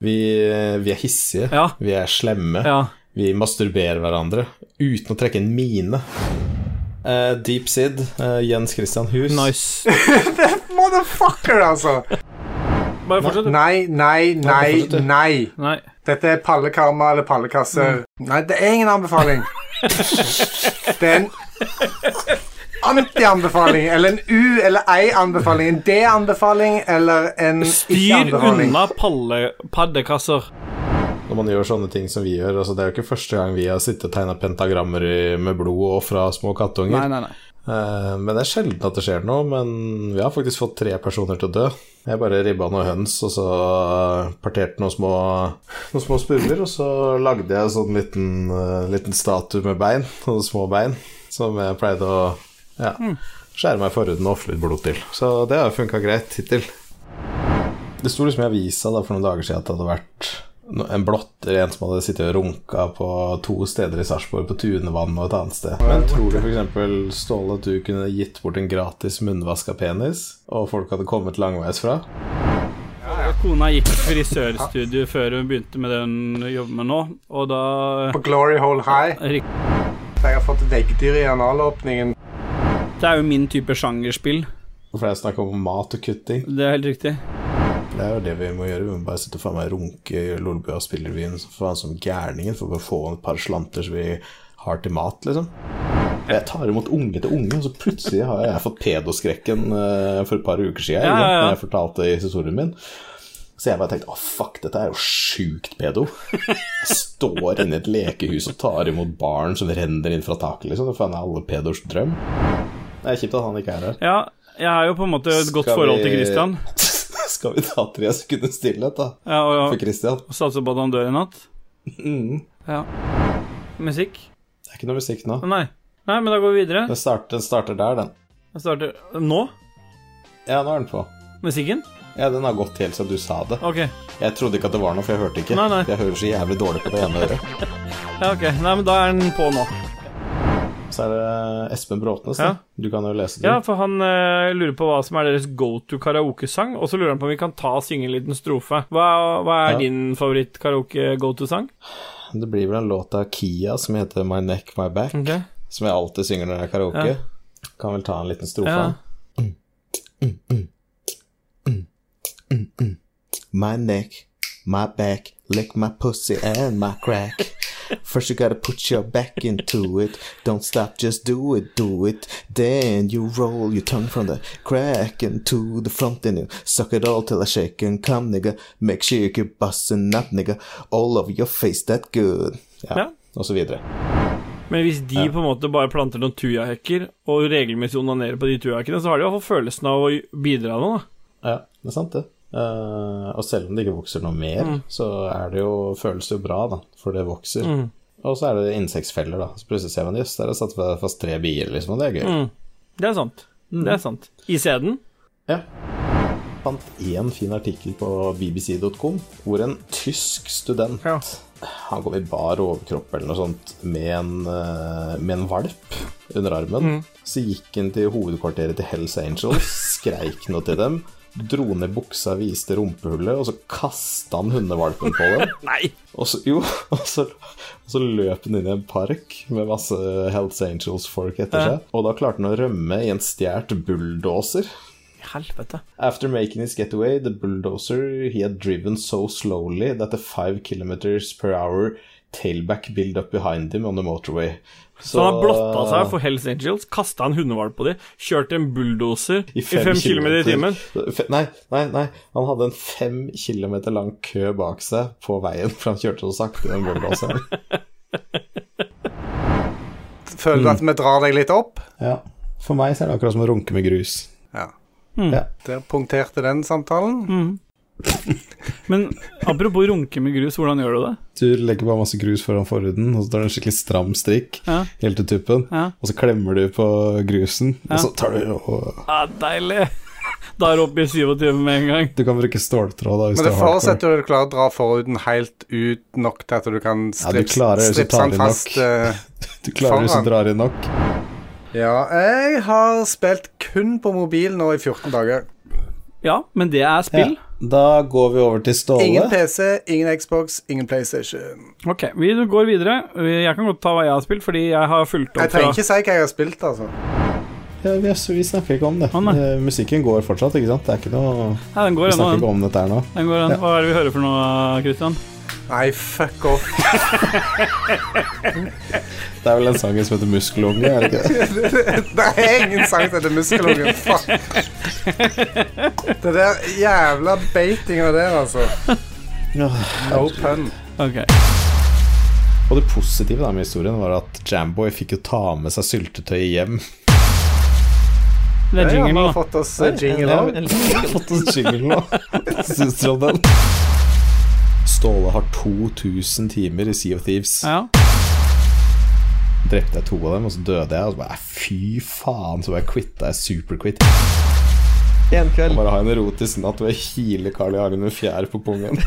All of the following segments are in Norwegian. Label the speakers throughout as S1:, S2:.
S1: Vi, eh, vi er hissige,
S2: Ja.
S1: vi er slemme,
S2: Ja.
S1: vi masturberer hverandre uten å trekke en mine. Eh, Deep Sid, eh, Jens Christian Hus.
S2: Nice.
S3: Motherfucker, altså!
S2: Bare fortsett, du.
S3: Nei, nei, nei,
S1: fortsett, du.
S3: nei.
S2: Nei.
S3: Dette er pallekarma eller pallekasse. Nei, det er ingen anbefaling. Det er en anti-anbefaling, eller en u- eller ei-anbefaling, en d-anbefaling eller en
S2: Styr
S3: ikke-anbefaling.
S2: unna palle, paddekasser.
S1: Når man gjør sånne ting som vi gjør altså Det er jo ikke første gang vi har sittet og tegna pentagrammer i- med blod og fra små kattunger.
S2: Nei, nei, nei.
S1: Eh, men det er sjelden at det skjer noe. Men vi har faktisk fått tre personer til å dø. Jeg bare ribba noen høns, og så eh, parterte noen små, noen små spurver. Og så lagde jeg sånn liten, eh, liten statue med bein, noen små bein, som jeg pleide å ja, skjære meg i forhuden og ofre litt blod til. Så det har funka greit hittil. Det sto liksom i avisa da, for noen dager siden at det hadde vært no- en blotter, en som hadde sittet og runka på to steder i Sarpsborg, på Tunevann og et annet sted. Men tror du f.eks. Ståle at du kunne gitt bort en gratis munnvaska penis, og folk hadde kommet langveisfra?
S2: Kona gikk i frisørstudio før hun begynte med det hun jobber med nå, og da
S3: På Glory Hole High.
S2: Rik-
S3: Jeg har fått veggdyr i analåpningen.
S2: Det er jo min type sjangerspill.
S1: For det er snakk om mat og kutting.
S2: Det er helt riktig.
S1: Det er jo det vi må gjøre. Vi må bare sitte og faen meg runke i Lolbua og spillrevyen som faen som gærningen for å få et par slanter som vi har til mat, liksom. Jeg tar imot unge til unge, og så plutselig har jeg fått pedoskrekken eh, for et par uker siden.
S2: Ja,
S1: ikke sant,
S2: ja, ja.
S1: Når jeg fortalte i historien min. Så jeg bare tenkte å fuck, dette er jo sjukt pedo. Jeg står inne i et lekehus og tar imot barn som renner inn fra taket, liksom. Det er faen alle pedos drøm. Det er kjipt at han ikke er her.
S2: Ja, jeg har jo på en måte et godt
S1: Skal
S2: forhold
S1: vi-
S2: til Christian.
S1: Skal vi ta tre sekunder stillhet, da?
S2: Ja, og,
S1: For
S2: og
S1: Christian.
S2: satser på at han dør i natt.
S1: Mm.
S2: Ja. Musikk?
S1: Det er ikke noe musikk nå.
S2: Nei. Nei, men da går vi videre.
S1: Den starter, den starter der, den.
S2: Jeg starter Nå?
S1: Ja, nå er den på.
S2: Musikken?
S1: Ja, Den har gått helt siden du sa det.
S2: OK.
S1: Jeg trodde ikke at det var noe, for jeg hørte ikke.
S2: Nei, nei.
S1: Jeg hører så jævlig dårlig på det ene øret.
S2: Ja, ok. Nei, men da er den på nå.
S1: Så er det eh, Espen Bråtnes, da.
S2: Ja.
S1: Du kan jo lese den.
S2: Ja, for han eh, lurer på hva som er deres go to karaokesang, og så lurer han på om vi kan ta og synge en liten strofe. Hva, hva er
S1: Ja.
S2: din favoritt-karaoke-go to-sang?
S1: Det blir vel en låt av Kia som heter My Neck, My Back,
S2: Ok.
S1: som jeg alltid synger når jeg er karaoke.
S2: Ja.
S1: Kan vel ta en liten strofe.
S2: Ja.
S1: han. My neck, my back, lick my pussy and my crack. First you gotta put your back into it. Don't stop, just do it, do it. Then you roll your tongue from the crack into the front and you suck it all till I shake and come, nigga. Make sure you keep busting up, nigga. All over your face, that good. Ja,
S2: Ja.
S1: og så videre.
S2: Men hvis de på en måte bare planter noen tujahekker og regelmessig onanerer på de tujahekkene, så har de i hvert fall følelsen av å bidra nå, da.
S1: Ja, det er sant det. Eh, og selv om det ikke vokser noe mer, så er det jo, føles det jo bra, da, for det vokser. Og så er det insektfeller, da. Så plutselig ser man jøss, der er satt fast tre bier, liksom, og det er gøy.
S2: Det er sant. Det er sant. I sæden?
S1: Ja. Fant én fin artikkel på bbc.com hvor en tysk student
S2: Ja.
S1: Han kom i bar overkropp eller noe sånt med en, eh, med en valp under armen. Så gikk han til hovedkvarteret til Hells Angels, skreik noe til dem, dro ned buksa, viste rumpehullet, og så kasta han hundevalpen på dem.
S2: Nei!
S1: Og så, jo, og så, og så løp han inn i en park med masse Hells Angels-folk etter seg. Og da klarte han å rømme i en stjålet bulldoser.
S2: Helvete.
S1: After making his getaway, the bulldozer he had driven so slowly that the five kilometers per hour tailback built up behind him on the motorway.
S2: Så han har blotta seg for Hells Angels, kasta en hundevalp på dem, kjørt en bulldoser i fem kilometer i timen.
S1: Fe- Nei, nei, nei. Han hadde en fem kilometer lang kø bak seg på veien, for han kjørte så sakte, den bulldoseren.
S3: Føler du at vi drar deg litt opp?
S1: ja. For meg så er det akkurat som å runke med grus.
S3: Ja.
S2: Hmm.
S1: Ja.
S3: Der punkterte den samtalen.
S2: Men apropos runke med grus, hvordan gjør du det?
S1: Du legger bare masse grus foran forhuden, og så tar du en skikkelig stram strikk
S2: Ja.
S1: helt til tuppen,
S2: Ja.
S1: og så klemmer du på grusen, og så tar du og
S2: Ah, deilig! Da er det oppe i 27 med en gang.
S1: Du kan bruke ståltråd da, hvis
S3: Men det
S1: du har hardcore.
S3: forutsetter jo at du klarer å dra forhuden helt ut nok til at du kan
S1: du
S3: strips,
S1: klarer det, så
S3: stripse
S1: tar
S3: den
S1: vi
S3: fast.
S1: nok.
S3: eh.
S1: Du klarer hvis
S3: Faen.
S1: du drar inn nok.
S3: ja, jeg har spilt kun på mobil nå i 14 dager.
S2: Ja, men det er spill.
S1: Ja. Da går vi over til Ståle.
S3: Ingen PC, ingen Xbox, ingen PlayStation.
S2: Ok, vi går videre. Jeg kan godt ta hva jeg har spilt, fordi jeg har fulgt opp
S3: Jeg trenger ikke si hva jeg har spilt, altså.
S1: Ja, vi, altså, vi snakker ikke om det.
S2: Å, nei.
S1: Eh, musikken går fortsatt, ikke sant? Det er ikke noe
S2: Nei, den går
S1: Vi snakker
S2: ennå, den.
S1: ikke om dette her nå.
S2: den går ennå.
S1: Ja.
S2: Hva er det vi hører for noe, Christian?
S3: Nei, fuck off.
S1: Det er vel en sang som heter 'Muskelunge', er det ikke det?
S3: Det er ingen sang til dette muskelungen. Fuck. Det der jævla beitinga der, altså.
S1: Ja.
S3: No pun.
S2: Ok.
S1: Og det positive da med historien var at Jamboy fikk jo ta med seg syltetøyet hjem.
S2: Det er
S3: Ja, vi
S2: jingle
S3: har
S2: nå.
S3: fått oss eh, jingle
S1: Ja,
S3: òg.
S1: vel, vi har fått oss jingle nå. Syns dere om den? Ståle har 2000 timer i Sea of Thieves.
S2: Ja.
S1: Drepte jeg to av dem, og så døde jeg. Og så bare fy faen, så bare quitta jeg superquit.
S4: En kveld.
S1: Bare ha en erotisk natt hvor jeg kiler Carl I. Arne med fjær på pungen.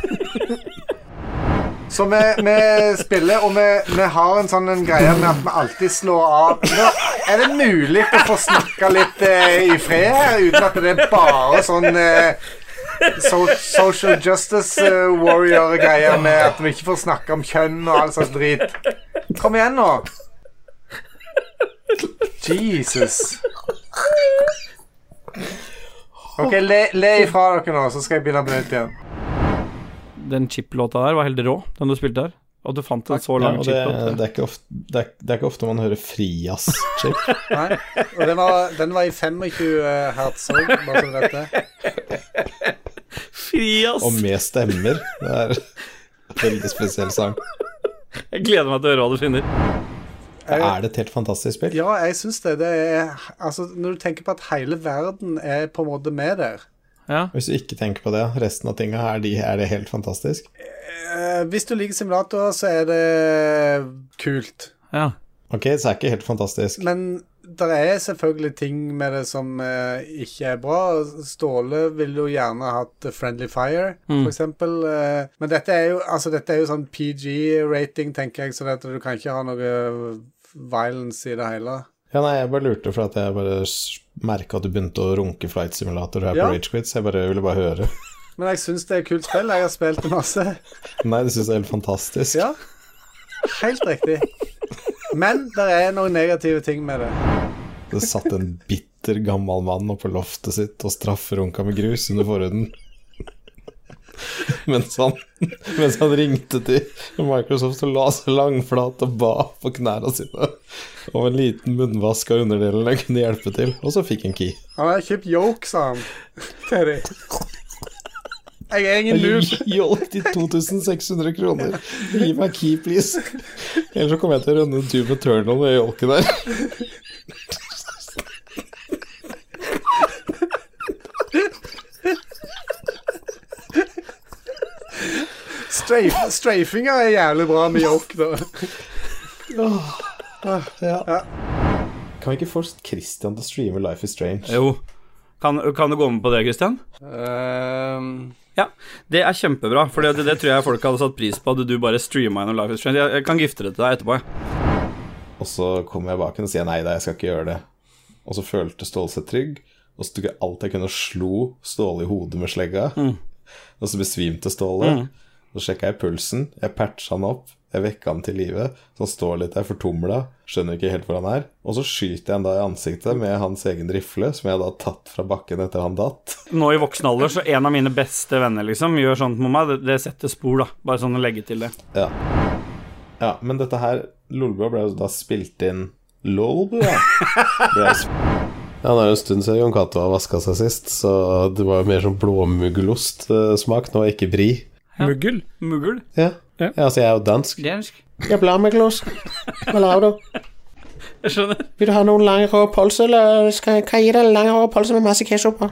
S3: Så vi, vi spiller, og vi, vi har en sånn en greie med at vi alltid slår av Nå Er det mulig å få snakke litt eh, i fred her, uten at det er bare sånn eh, so Social justice eh, warrior-greier med at vi ikke får snakke om kjønn og all slags drit. Kom igjen, nå. Jesus. OK, le, le ifra dere nå, så skal jeg begynne på nytt igjen.
S2: Den chip-låta der var helt rå, den du spilte der. Og du fant en så
S1: Ja,
S2: lang
S1: og det,
S2: chip-låt.
S1: det, er ikke ofte, det, er, det er ikke ofte man hører frias-chip.
S3: Nei, og den var, den var i 25 hertz òg, bare så du vet det.
S2: Fri, ass!
S1: Og med stemmer. Det er en veldig spesiell sang.
S2: Jeg gleder meg til å høre hva du finner.
S1: Det er det et helt fantastisk spill.
S3: Ja, jeg syns det. det er, altså, når du tenker på at hele verden er på en måte med der
S2: Ja.
S1: Hvis du ikke tenker på det, resten av tinga er, de, er det helt fantastisk.
S3: Eh, Hvis du liker simulatorer, så er det kult.
S2: ja.
S1: Ok, så er det ikke helt fantastisk.
S3: Men det er selvfølgelig ting med det som eh, ikke er bra. Ståle ville jo gjerne hatt Friendly Fire, for eksempel. eh, men dette er jo, altså, dette er jo sånn PG-rating, tenker jeg, så dette, du kan ikke ha noe violence i det hele.
S1: Ja, nei, jeg bare lurte for at jeg bare merka at du begynte å runke flight simulator her
S3: Ja.
S1: på Rage Quit, så jeg bare ville bare høre.
S3: Men jeg syns det er et kult spill. Jeg har spilt det masse.
S1: Nei, det syns jeg er helt fantastisk.
S3: Ja. Helt riktig. Men det er noen negative ting med det.
S1: Det satt en bitter gammel mann oppe på loftet sitt og strafferunka med grus under forhuden. Mens han, mens han ringte til Microsoft og la seg langflat og ba på knærne sine om en liten munnvask av underdelen jeg kunne hjelpe til, og så fikk han key.
S3: Han har kjøpt yoke, sa han. Det er det. Jeg er ingen noob.
S1: Jeg Hjalp de 2600 kroner. Gi meg key, please. Ellers så kommer jeg til å rønne en tur med Turnal med jolken der.
S3: Strafe, strafinga er jævlig bra med yoke, da. Ja.
S1: Kan vi ikke få Christian til å streame Life is Strange?
S2: Jo. Kan, kan du gå med på det, Christian? Ja, det er kjempebra, for det, det tror jeg folk hadde satt pris på hadde du bare streama gjennom Life is Strange. Jeg, jeg kan gifte det til deg etterpå. jeg.
S1: Og så kommer jeg bak henne og sier nei da, jeg skal ikke gjøre det. Og så følte Ståle seg trygg, og så tok jeg alt jeg kunne og slo Ståle i hodet med slegga. Og så besvimte Ståle. Så sjekka jeg pulsen, jeg patcha han opp, jeg vekka han til live. Så han står litt der fortumla, skjønner ikke helt hvor han er. Og så skyter jeg han da i ansiktet med hans egen rifle, som jeg da har tatt fra bakken etter han datt.
S2: Nå i voksen alder, så en av mine beste venner liksom gjør sånt med meg. Det, det setter spor, da. Bare sånn å legge til det.
S1: Ja, ja men dette her Lolbua ble jo da spilt inn Lolbua? Ble jo sp- Ja, det er jo en stund siden Jon Cato har vaska seg sist, så det var jo mer sånn blåmuggulostsmak. Nå er ikke bri.
S2: Muggel? Muggel?
S1: Ja.
S2: Ja.
S1: ja, altså jeg er jo dansk.
S2: Dansk?
S1: Jeg er blåmuggulost. Hva lager du?
S2: Jeg skjønner.
S1: Vil du ha noen langhåra pølse, eller skal jeg gi deg langhåra pølse med masse ketsjup på?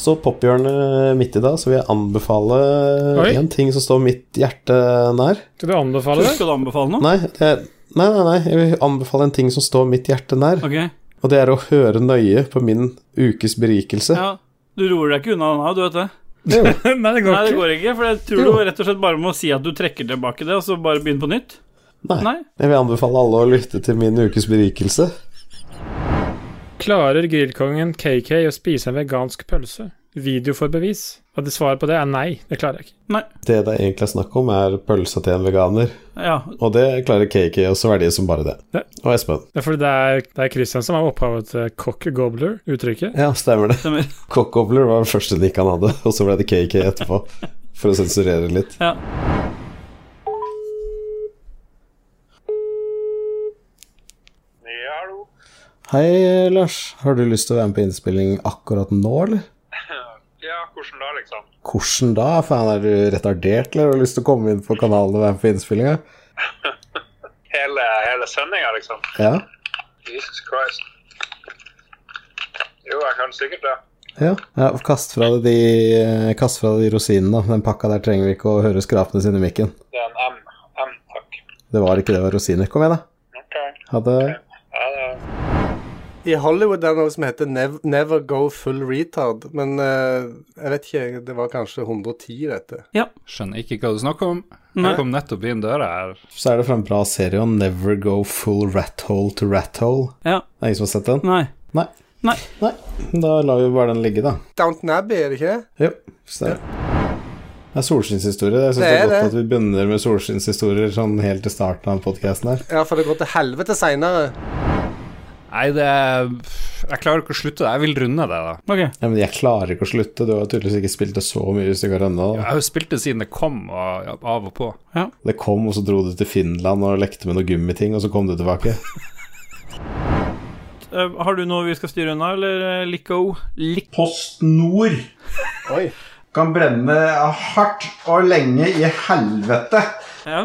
S1: Så pophjørnet midt i da, så vil jeg anbefale
S5: Oi.
S1: én ting som står mitt hjerte nær.
S5: Skal du anbefale det?
S2: Skal du anbefale noe?
S1: Nei, det- nei, nei, nei, jeg vil anbefale en ting som står mitt hjerte nær.
S2: Ok.
S1: Og det er å høre nøye på min ukes berikelse.
S2: Ja. Du roer deg ikke unna den her, du vet det.
S5: Nei, det
S2: Nei,
S5: går
S2: det
S5: ikke.
S2: går ikke, for jeg tror du rett og slett bare må si at du trekker tilbake det, og så bare begynne på nytt.
S1: Nei.
S2: Nei.
S1: Jeg vil anbefale alle å lytte til min ukes berikelse.
S5: Klarer grillkongen KK å spise en vegansk pølse? video for bevis? Og det svaret på det er nei, det klarer jeg ikke.
S1: Det det egentlig er snakk om, er pølsa til en veganer.
S2: Ja,
S1: Og det klarer Kiki å svelge som bare det.
S5: Ja.
S1: Og Espen.
S5: Det er fordi det er, det er Christian som er opphavet til cock gobbler, uttrykket.
S1: Ja, stemmer det.
S2: stemmer.
S1: Cockobler var den første nikk han hadde, og så ble det KK etterpå. For å sensurere litt.
S2: Ja.
S6: Ja, hallo.
S1: Hei, Lars. Har du lyst til å være med på innspilling akkurat nå, eller?
S6: Ja, hvordan da, liksom?
S1: Hvordan da? Faen, er du retardert, eller har du lyst til å komme inn på kanalen og være med på innspillinga?
S6: Hele, hele sendinga, liksom?
S1: Ja?
S6: Jesus Christ. Jo, jeg kan sikkert det.
S1: Ja. ja kast, fra deg de, kast fra deg de rosinene. da. Den pakka der trenger vi ikke å høre skrapene sine i mikken.
S6: Det er en M. M, takk.
S1: Det var ikke det, det var rosiner. Kom igjen, da.
S6: OK.
S1: Ha det.
S6: Ja, det er
S3: I Hollywood er det noe som heter Nev Never Go Full Retard, men eh, jeg vet ikke, det var kanskje 110 i dette.
S7: Skjønner ikke hva du snakker om.
S2: Nei.
S7: Jeg kom nettopp inn døra her.
S1: Så er det fra en bra serie om Never Go Full Rat Hole to Rat Hole.
S2: Ja.
S1: Det er ingen som har sett den?
S2: Nei.
S1: Nei.
S2: Nei.
S1: Da lar vi bare den ligge, da.
S3: Downton Abbey, er det ikke?
S1: Jo, stemmer. Det er solskinnshistorie. Jeg syns
S3: Det
S1: det,
S3: er
S1: er godt
S3: det.
S1: at vi begynner med solskinnshistorier sånn helt til starten av podkasten her.
S3: Ja, for det går til helvete seinere.
S7: Nei, det Jeg klarer ikke å slutte det. Jeg vil runde det, da.
S2: Ok.
S1: Ja, men jeg klarer ikke å slutte. Du har tydeligvis ikke spilt det så mye stykker ennå.
S7: Jeg
S1: da.
S7: har jo spilt det siden det kom, og ja, av og på.
S1: Det kom, og så dro du til Finland og lekte med noen gummiting, og så kom du tilbake.
S2: Eh, har du noe vi skal styre unna, eller eh, Lico? Lik...
S8: Post Nord kan brenne hardt og lenge i helvete.
S2: Ja.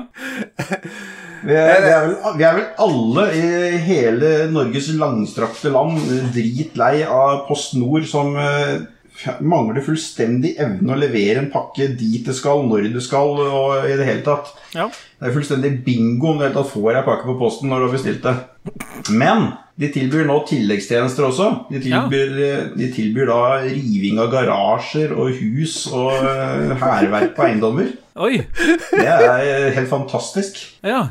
S8: Vi er, vi er, vel, vi er vel alle i hele Norges langstrakte land dritlei av Post Nord som eh, f- mangler fullstendig evne å levere en pakke dit det skal, når det skal, og i det hele tatt.
S2: Ja.
S8: Det er fullstendig bingo om du i det hele tatt får ei pakke på posten når du har bestilt det. Men de tilbyr nå tilleggstjenester også. De tilbyr, de tilbyr da riving av garasjer og hus og eh, hærverk på eiendommer.
S2: Oi.
S8: Det er eh, helt fantastisk.
S2: Ja.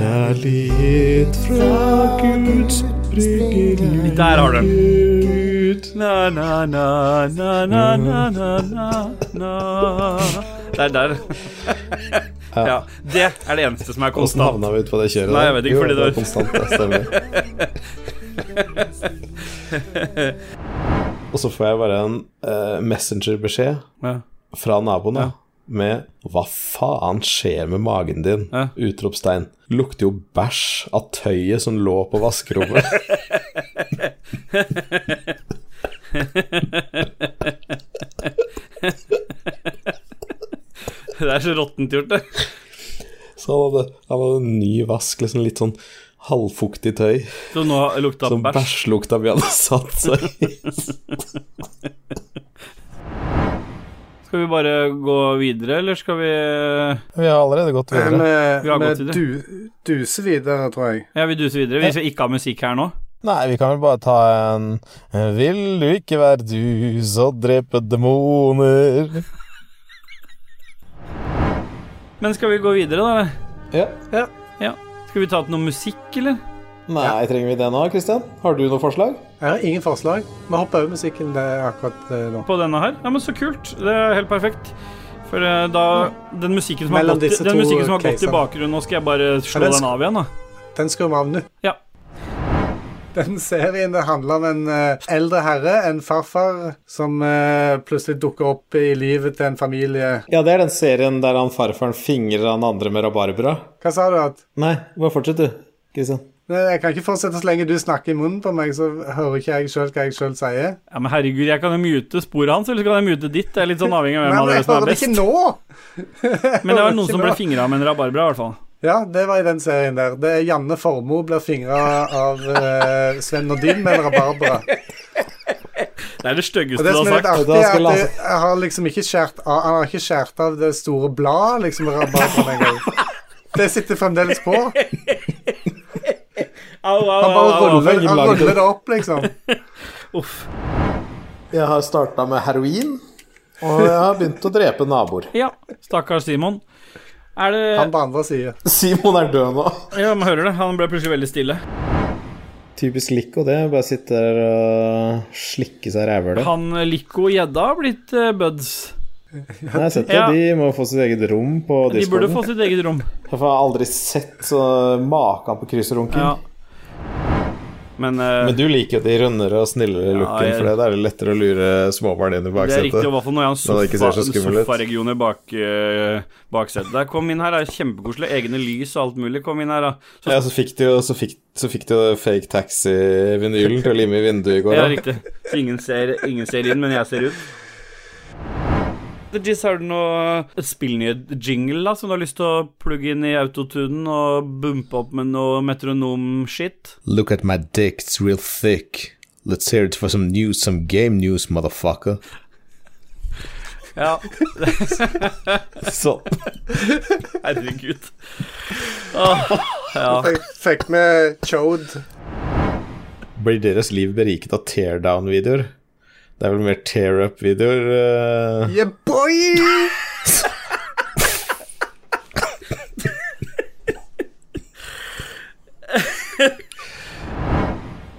S1: Kjærlighet fra Guds brygge
S2: Der har du den. Na, na, na, na, na, na, na, na, na. Der, der. ja. Det er det eneste som er
S1: Åssen
S2: konstant.
S1: havna vi ut på det kjøret?
S2: Nei,
S1: der?
S2: jeg vet ikke,
S1: Jo,
S2: fordi det
S1: det
S2: var-
S1: var konstant, det stemmer. Og så får jeg bare en eh, messengerbeskjed
S2: Ja.
S1: fra naboen da, med 'Hva faen skjer med magen din?'
S2: Ja.
S1: Utropstegn. Lukter jo bæsj av tøyet som lå på vaskerommet.
S2: Det er så råttent gjort, det.
S1: så han hadde, han hadde en ny vask, liksom litt sånn halvfuktig tøy.
S2: Så nå lukta
S1: Som
S2: bæsj.
S1: bæsjlukta vi hadde satt seg i.
S2: Skal vi bare gå videre, eller skal vi
S1: vi har allerede gått
S3: Eh,
S1: videre.
S2: Vi har
S3: Vi
S2: gått til det.
S3: du, duser videre, tror jeg.
S2: Ja, vi duser videre. Vi skal ikke ha musikk her nå.
S1: Nei, vi kan vel bare ta en Vil du ikke være du, så drepe demoner.
S2: Men skal vi gå videre, da? eller?
S1: Ja.
S2: Skal vi ta til noe musikk, eller?
S1: Nei, trenger vi det nå, Kristian? Har du noe forslag?
S3: Jeg har ingen forslag. Vi hopper over musikken eh, akkurat eh, nå.
S2: På denne her? Ja, men så kult. Det er helt perfekt. For eh, da Den musikken som har
S3: Mellom
S2: gått, i-
S3: disse
S2: den
S3: to
S2: musikken som har gått i
S3: casene.
S2: bakgrunnen, nå skal jeg bare slå
S3: Ja, den
S2: den
S3: sk-
S2: av igjen, da.
S3: Den skrur vi av nå.
S2: Ja.
S3: Den serien det handler om en eh, eldre herre, en farfar, som eh, plutselig dukker opp i livet til en familie.
S1: Ja, det er den serien der han farfaren fingrer han andre med rabarbra.
S3: Hva sa du? at?
S1: Nei, bare fortsett du, Kristian.
S3: Nei, Jeg kan ikke fortsette så lenge du snakker i munnen på meg, så hører ikke jeg sjøl hva jeg sjøl sier.
S2: Ja, men herregud, jeg kan jo mute sporet hans, eller så kan jeg mute ditt. Det er litt sånn avhengig av
S3: Nei,
S2: hvem av
S3: men
S2: dere
S3: jeg
S2: som er
S3: hører det
S2: best.
S3: ikke nå!
S2: Men det var noen
S3: ikke
S2: som ble
S3: nå.
S2: fingra med en rabarbra, i hvert fall.
S3: Ja, det var i den serien der. Det er Janne Formoe blir fingra av eh, Sven Nordin med en rabarbra.
S2: Det er det
S3: Og
S2: styggeste
S3: det
S2: du
S3: som
S2: har
S3: er litt
S2: sagt.
S3: artig,
S1: Da
S3: er
S1: skal
S3: at
S1: jeg
S3: det, jeg har liksom ikke skjært av, han har ikke skjært av det store bladet, liksom, rabarbraen engang. Det sitter fremdeles på. Han
S2: Au, au, au,
S3: bare
S2: au, au.
S3: ruller,
S1: ingen
S3: han
S1: lager
S3: ruller
S1: det.
S3: det opp, liksom.
S2: Uff.
S1: Jeg har starta med heroin, og jeg har begynt å drepe naboer.
S2: Ja, stakkars Simon. Er det
S3: Han på andre siden.
S1: Simon er død nå.
S2: Ja, man hører det. Han ble plutselig veldig stille.
S1: Typisk Lico, det. Bare sitte der og slikke seg rævhølet.
S2: Han eh, Lico og Gjedda har blitt eh, buds.
S1: Nei, Jeg har sett det.
S2: Ja.
S1: De må få sitt eget rom på
S2: De burde
S1: discorden.
S2: få sitt eget rom.
S1: Jeg har aldri sett så maken på kryssrunken.
S2: Ja. Men, eh,
S1: Men du liker jo de rundere og snillere looken,
S2: jeg-
S1: for det- da er det lettere å lure småbarn inn i
S2: det er riktig,
S1: baksetet.
S2: i hvert fall når jeg har en
S1: Når det ikke
S2: sofa,
S1: ser så
S2: en
S1: skummel ut.
S2: sofaregion i bak, eh, baksetet. Der, kom inn her, det er kjempekoselig. Egne lys og alt mulig. Kom inn her, da. Så,
S1: Ja, så fikk de jo så fikk, så fikk de jo fake taxi-vinylen til å lime i vinduet i går. da.
S2: Ja, riktig. Så ingen ser, ingen ser inn, men jeg ser ut. The Jizz, har du noe et spillnyhet-jingle da, som du har lyst til å plugge inn i autotunen og bumpe opp med noe metronom-shit?
S1: Look at my dick, it's real thick. Let's hear it for some news, some game news, motherfucker.
S2: Ja.
S1: Sånn.
S2: Herregud. Åh, ja.
S3: Jeg fikk med Chode.
S1: Blir deres liv beriket av teardown-videoer? Det er vel mer tear-up-videoer? eh.
S3: Yeah, boy!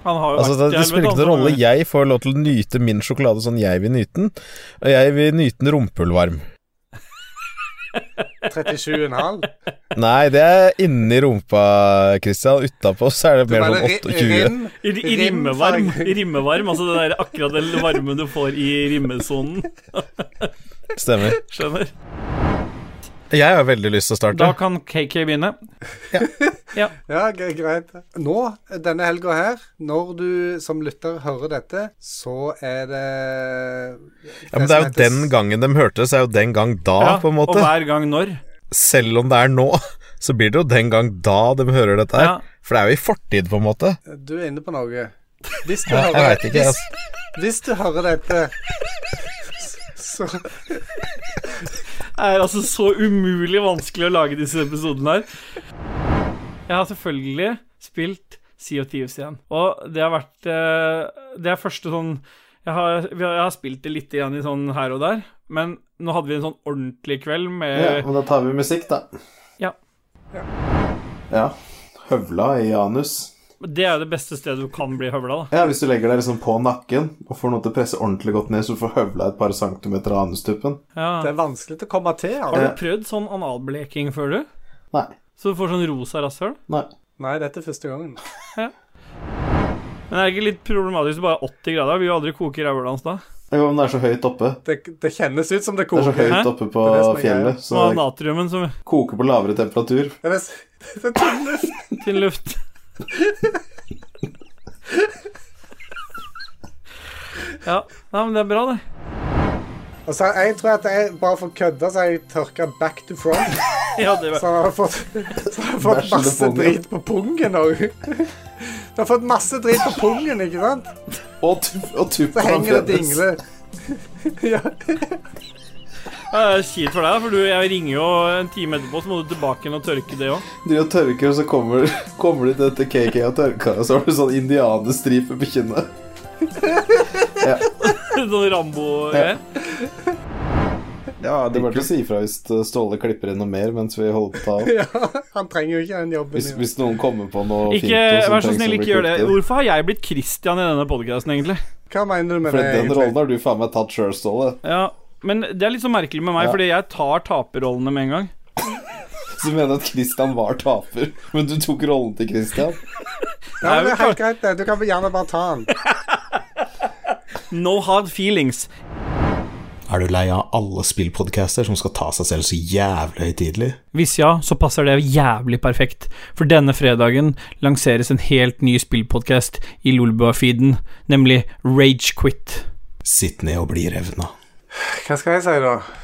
S2: Han har jo
S9: Altså, det,
S2: vært i
S9: det
S2: helvete,
S9: spiller ikke
S2: han,
S9: noen rolle.
S2: så-
S9: Jeg får lov til å nyte min sjokolade sånn jeg vil nyte den. Og jeg vil nyte den rumpehullvarm.
S3: 37,5.
S9: Nei, det er inni rumpa, Christian. Utapå så er det mer sånn 28.
S2: I, i
S3: Rim,
S2: rimmevarm,
S3: farge.
S2: i rimmevarm, altså det der akkurat den varmen du får i rimmesonen.
S9: Stemmer.
S2: Skjønner?
S9: Jeg har veldig lyst til å starte.
S2: Da kan KK begynne.
S3: Ja, gre- greit. Nå, denne helga her, når du som lytter hører dette, så er det
S9: Ja, men det er jo den gangen de hørte, så er jo den gang da,
S2: Ja,
S9: på en
S2: Og
S9: måte.
S2: hver gang når.
S9: Selv om det er nå, så blir det jo den gang da de hører dette her.
S2: Ja.
S9: For det er jo i fortid, på en måte.
S3: gangen Du er inne på noe. Hvis du,
S9: Jeg
S3: hører,
S9: veit ikke. Altså.
S3: hvis du hører dette så,
S2: Det er altså så umulig vanskelig å lage disse episodene her. Jeg har selvfølgelig spilt Sea of Thieves igjen, og det har vært eh, Det er første sånn jeg har, vi har- jeg har spilt det litt igjen i sånn her og der, men nå hadde vi en sånn ordentlig kveld med
S1: Ja, men da tar vi musikk, da.
S2: Ja.
S1: Ja. Høvla i anus.
S2: Det er jo det beste stedet du kan bli høvla, da.
S1: Ja, Hvis du legger deg liksom på nakken og får noe til å presse ordentlig godt ned, så du får høvla et par centimeter av anustuppen.
S2: Ja.
S3: Det er vanskelig å komme til.
S2: Har
S3: Altså.
S2: du prøvd sånn analbleking før, du?
S1: Nei.
S2: Så du får sånn rosa rasshøl?
S1: Nei.
S3: Nei, dette er første gangen.
S2: Men er det ikke litt problematisk bare 80 grader? Vi vil jo aldri koke rævhølet hans da.
S1: Det går, men det er så høyt oppe.
S3: Det, det kjennes ut som det
S1: Det er så
S3: koker.
S1: høyt
S2: Hæ?
S1: oppe på
S3: Det er det som er greia.
S1: fjellet, så
S2: Nå er
S1: det
S2: natriumen som
S1: koker på lavere temperatur.
S3: Det er s- det er tynn luft.
S2: tynn luft. ja. Nei, men det er bra, det.
S3: Og så jeg tror at jeg bare for å kødde, så har jeg tørka back to front.
S2: Ja, det
S3: Så
S2: var.
S3: har jeg fått, så har jeg fått
S1: Bæsjende
S3: masse
S1: pungen.
S3: drit på pungen òg. Du har fått masse drit på pungen, ikke sant?
S1: Og, tu og
S3: Så
S1: tuppen
S3: henger det dingler. Ja.
S2: Ja, det er kjipt for deg, da, for du, jeg ringer jo en time etterpå, så må du tilbake igjen og tørke det òg.
S1: Du og tørker, og så kommer, kommer du til dette KK og tørker, og så har du sånn indianerstripe på kinnet.
S2: sånn Rambo-greier.
S1: Ja, det er bare til å si ifra hvis Ståle klipper inn noe mer mens vi holder på å ta opp.
S3: ja. Han trenger jo ikke den jobben.
S1: Hvis,
S3: jo.
S1: hvis noen kommer på noe fint og
S2: Ikke,
S1: som
S2: vær så
S1: trengs å
S2: snill,
S1: bli
S2: ikke gjør det.
S1: klippet inn.
S2: Hvorfor har jeg blitt Christian i denne podkasten, egentlig?
S3: Hva mener du med
S1: For
S3: det?
S1: den rollen
S3: egentlig?
S1: har du faen meg tatt sjøl, Ståle.
S2: Ja, men det er litt så merkelig med meg,
S1: Ja.
S2: fordi jeg tar taperrollene med en gang.
S1: Så du mener at Christian var taper, men du tok rollen til Christian?
S3: Ja, men det er helt greit, det. Du kan gjerne bare ta den.
S2: No hard feelings.
S1: Er du lei av alle spillpodcaster som skal ta seg selv så jævlig høytidelig?
S2: Hvis ja, så passer det jævlig perfekt, for denne fredagen lanseres en helt ny spillpodkast i Lolbua-feeden, nemlig Ragequit.
S1: Sitt ned og bli revna.
S3: Hva skal jeg si, da?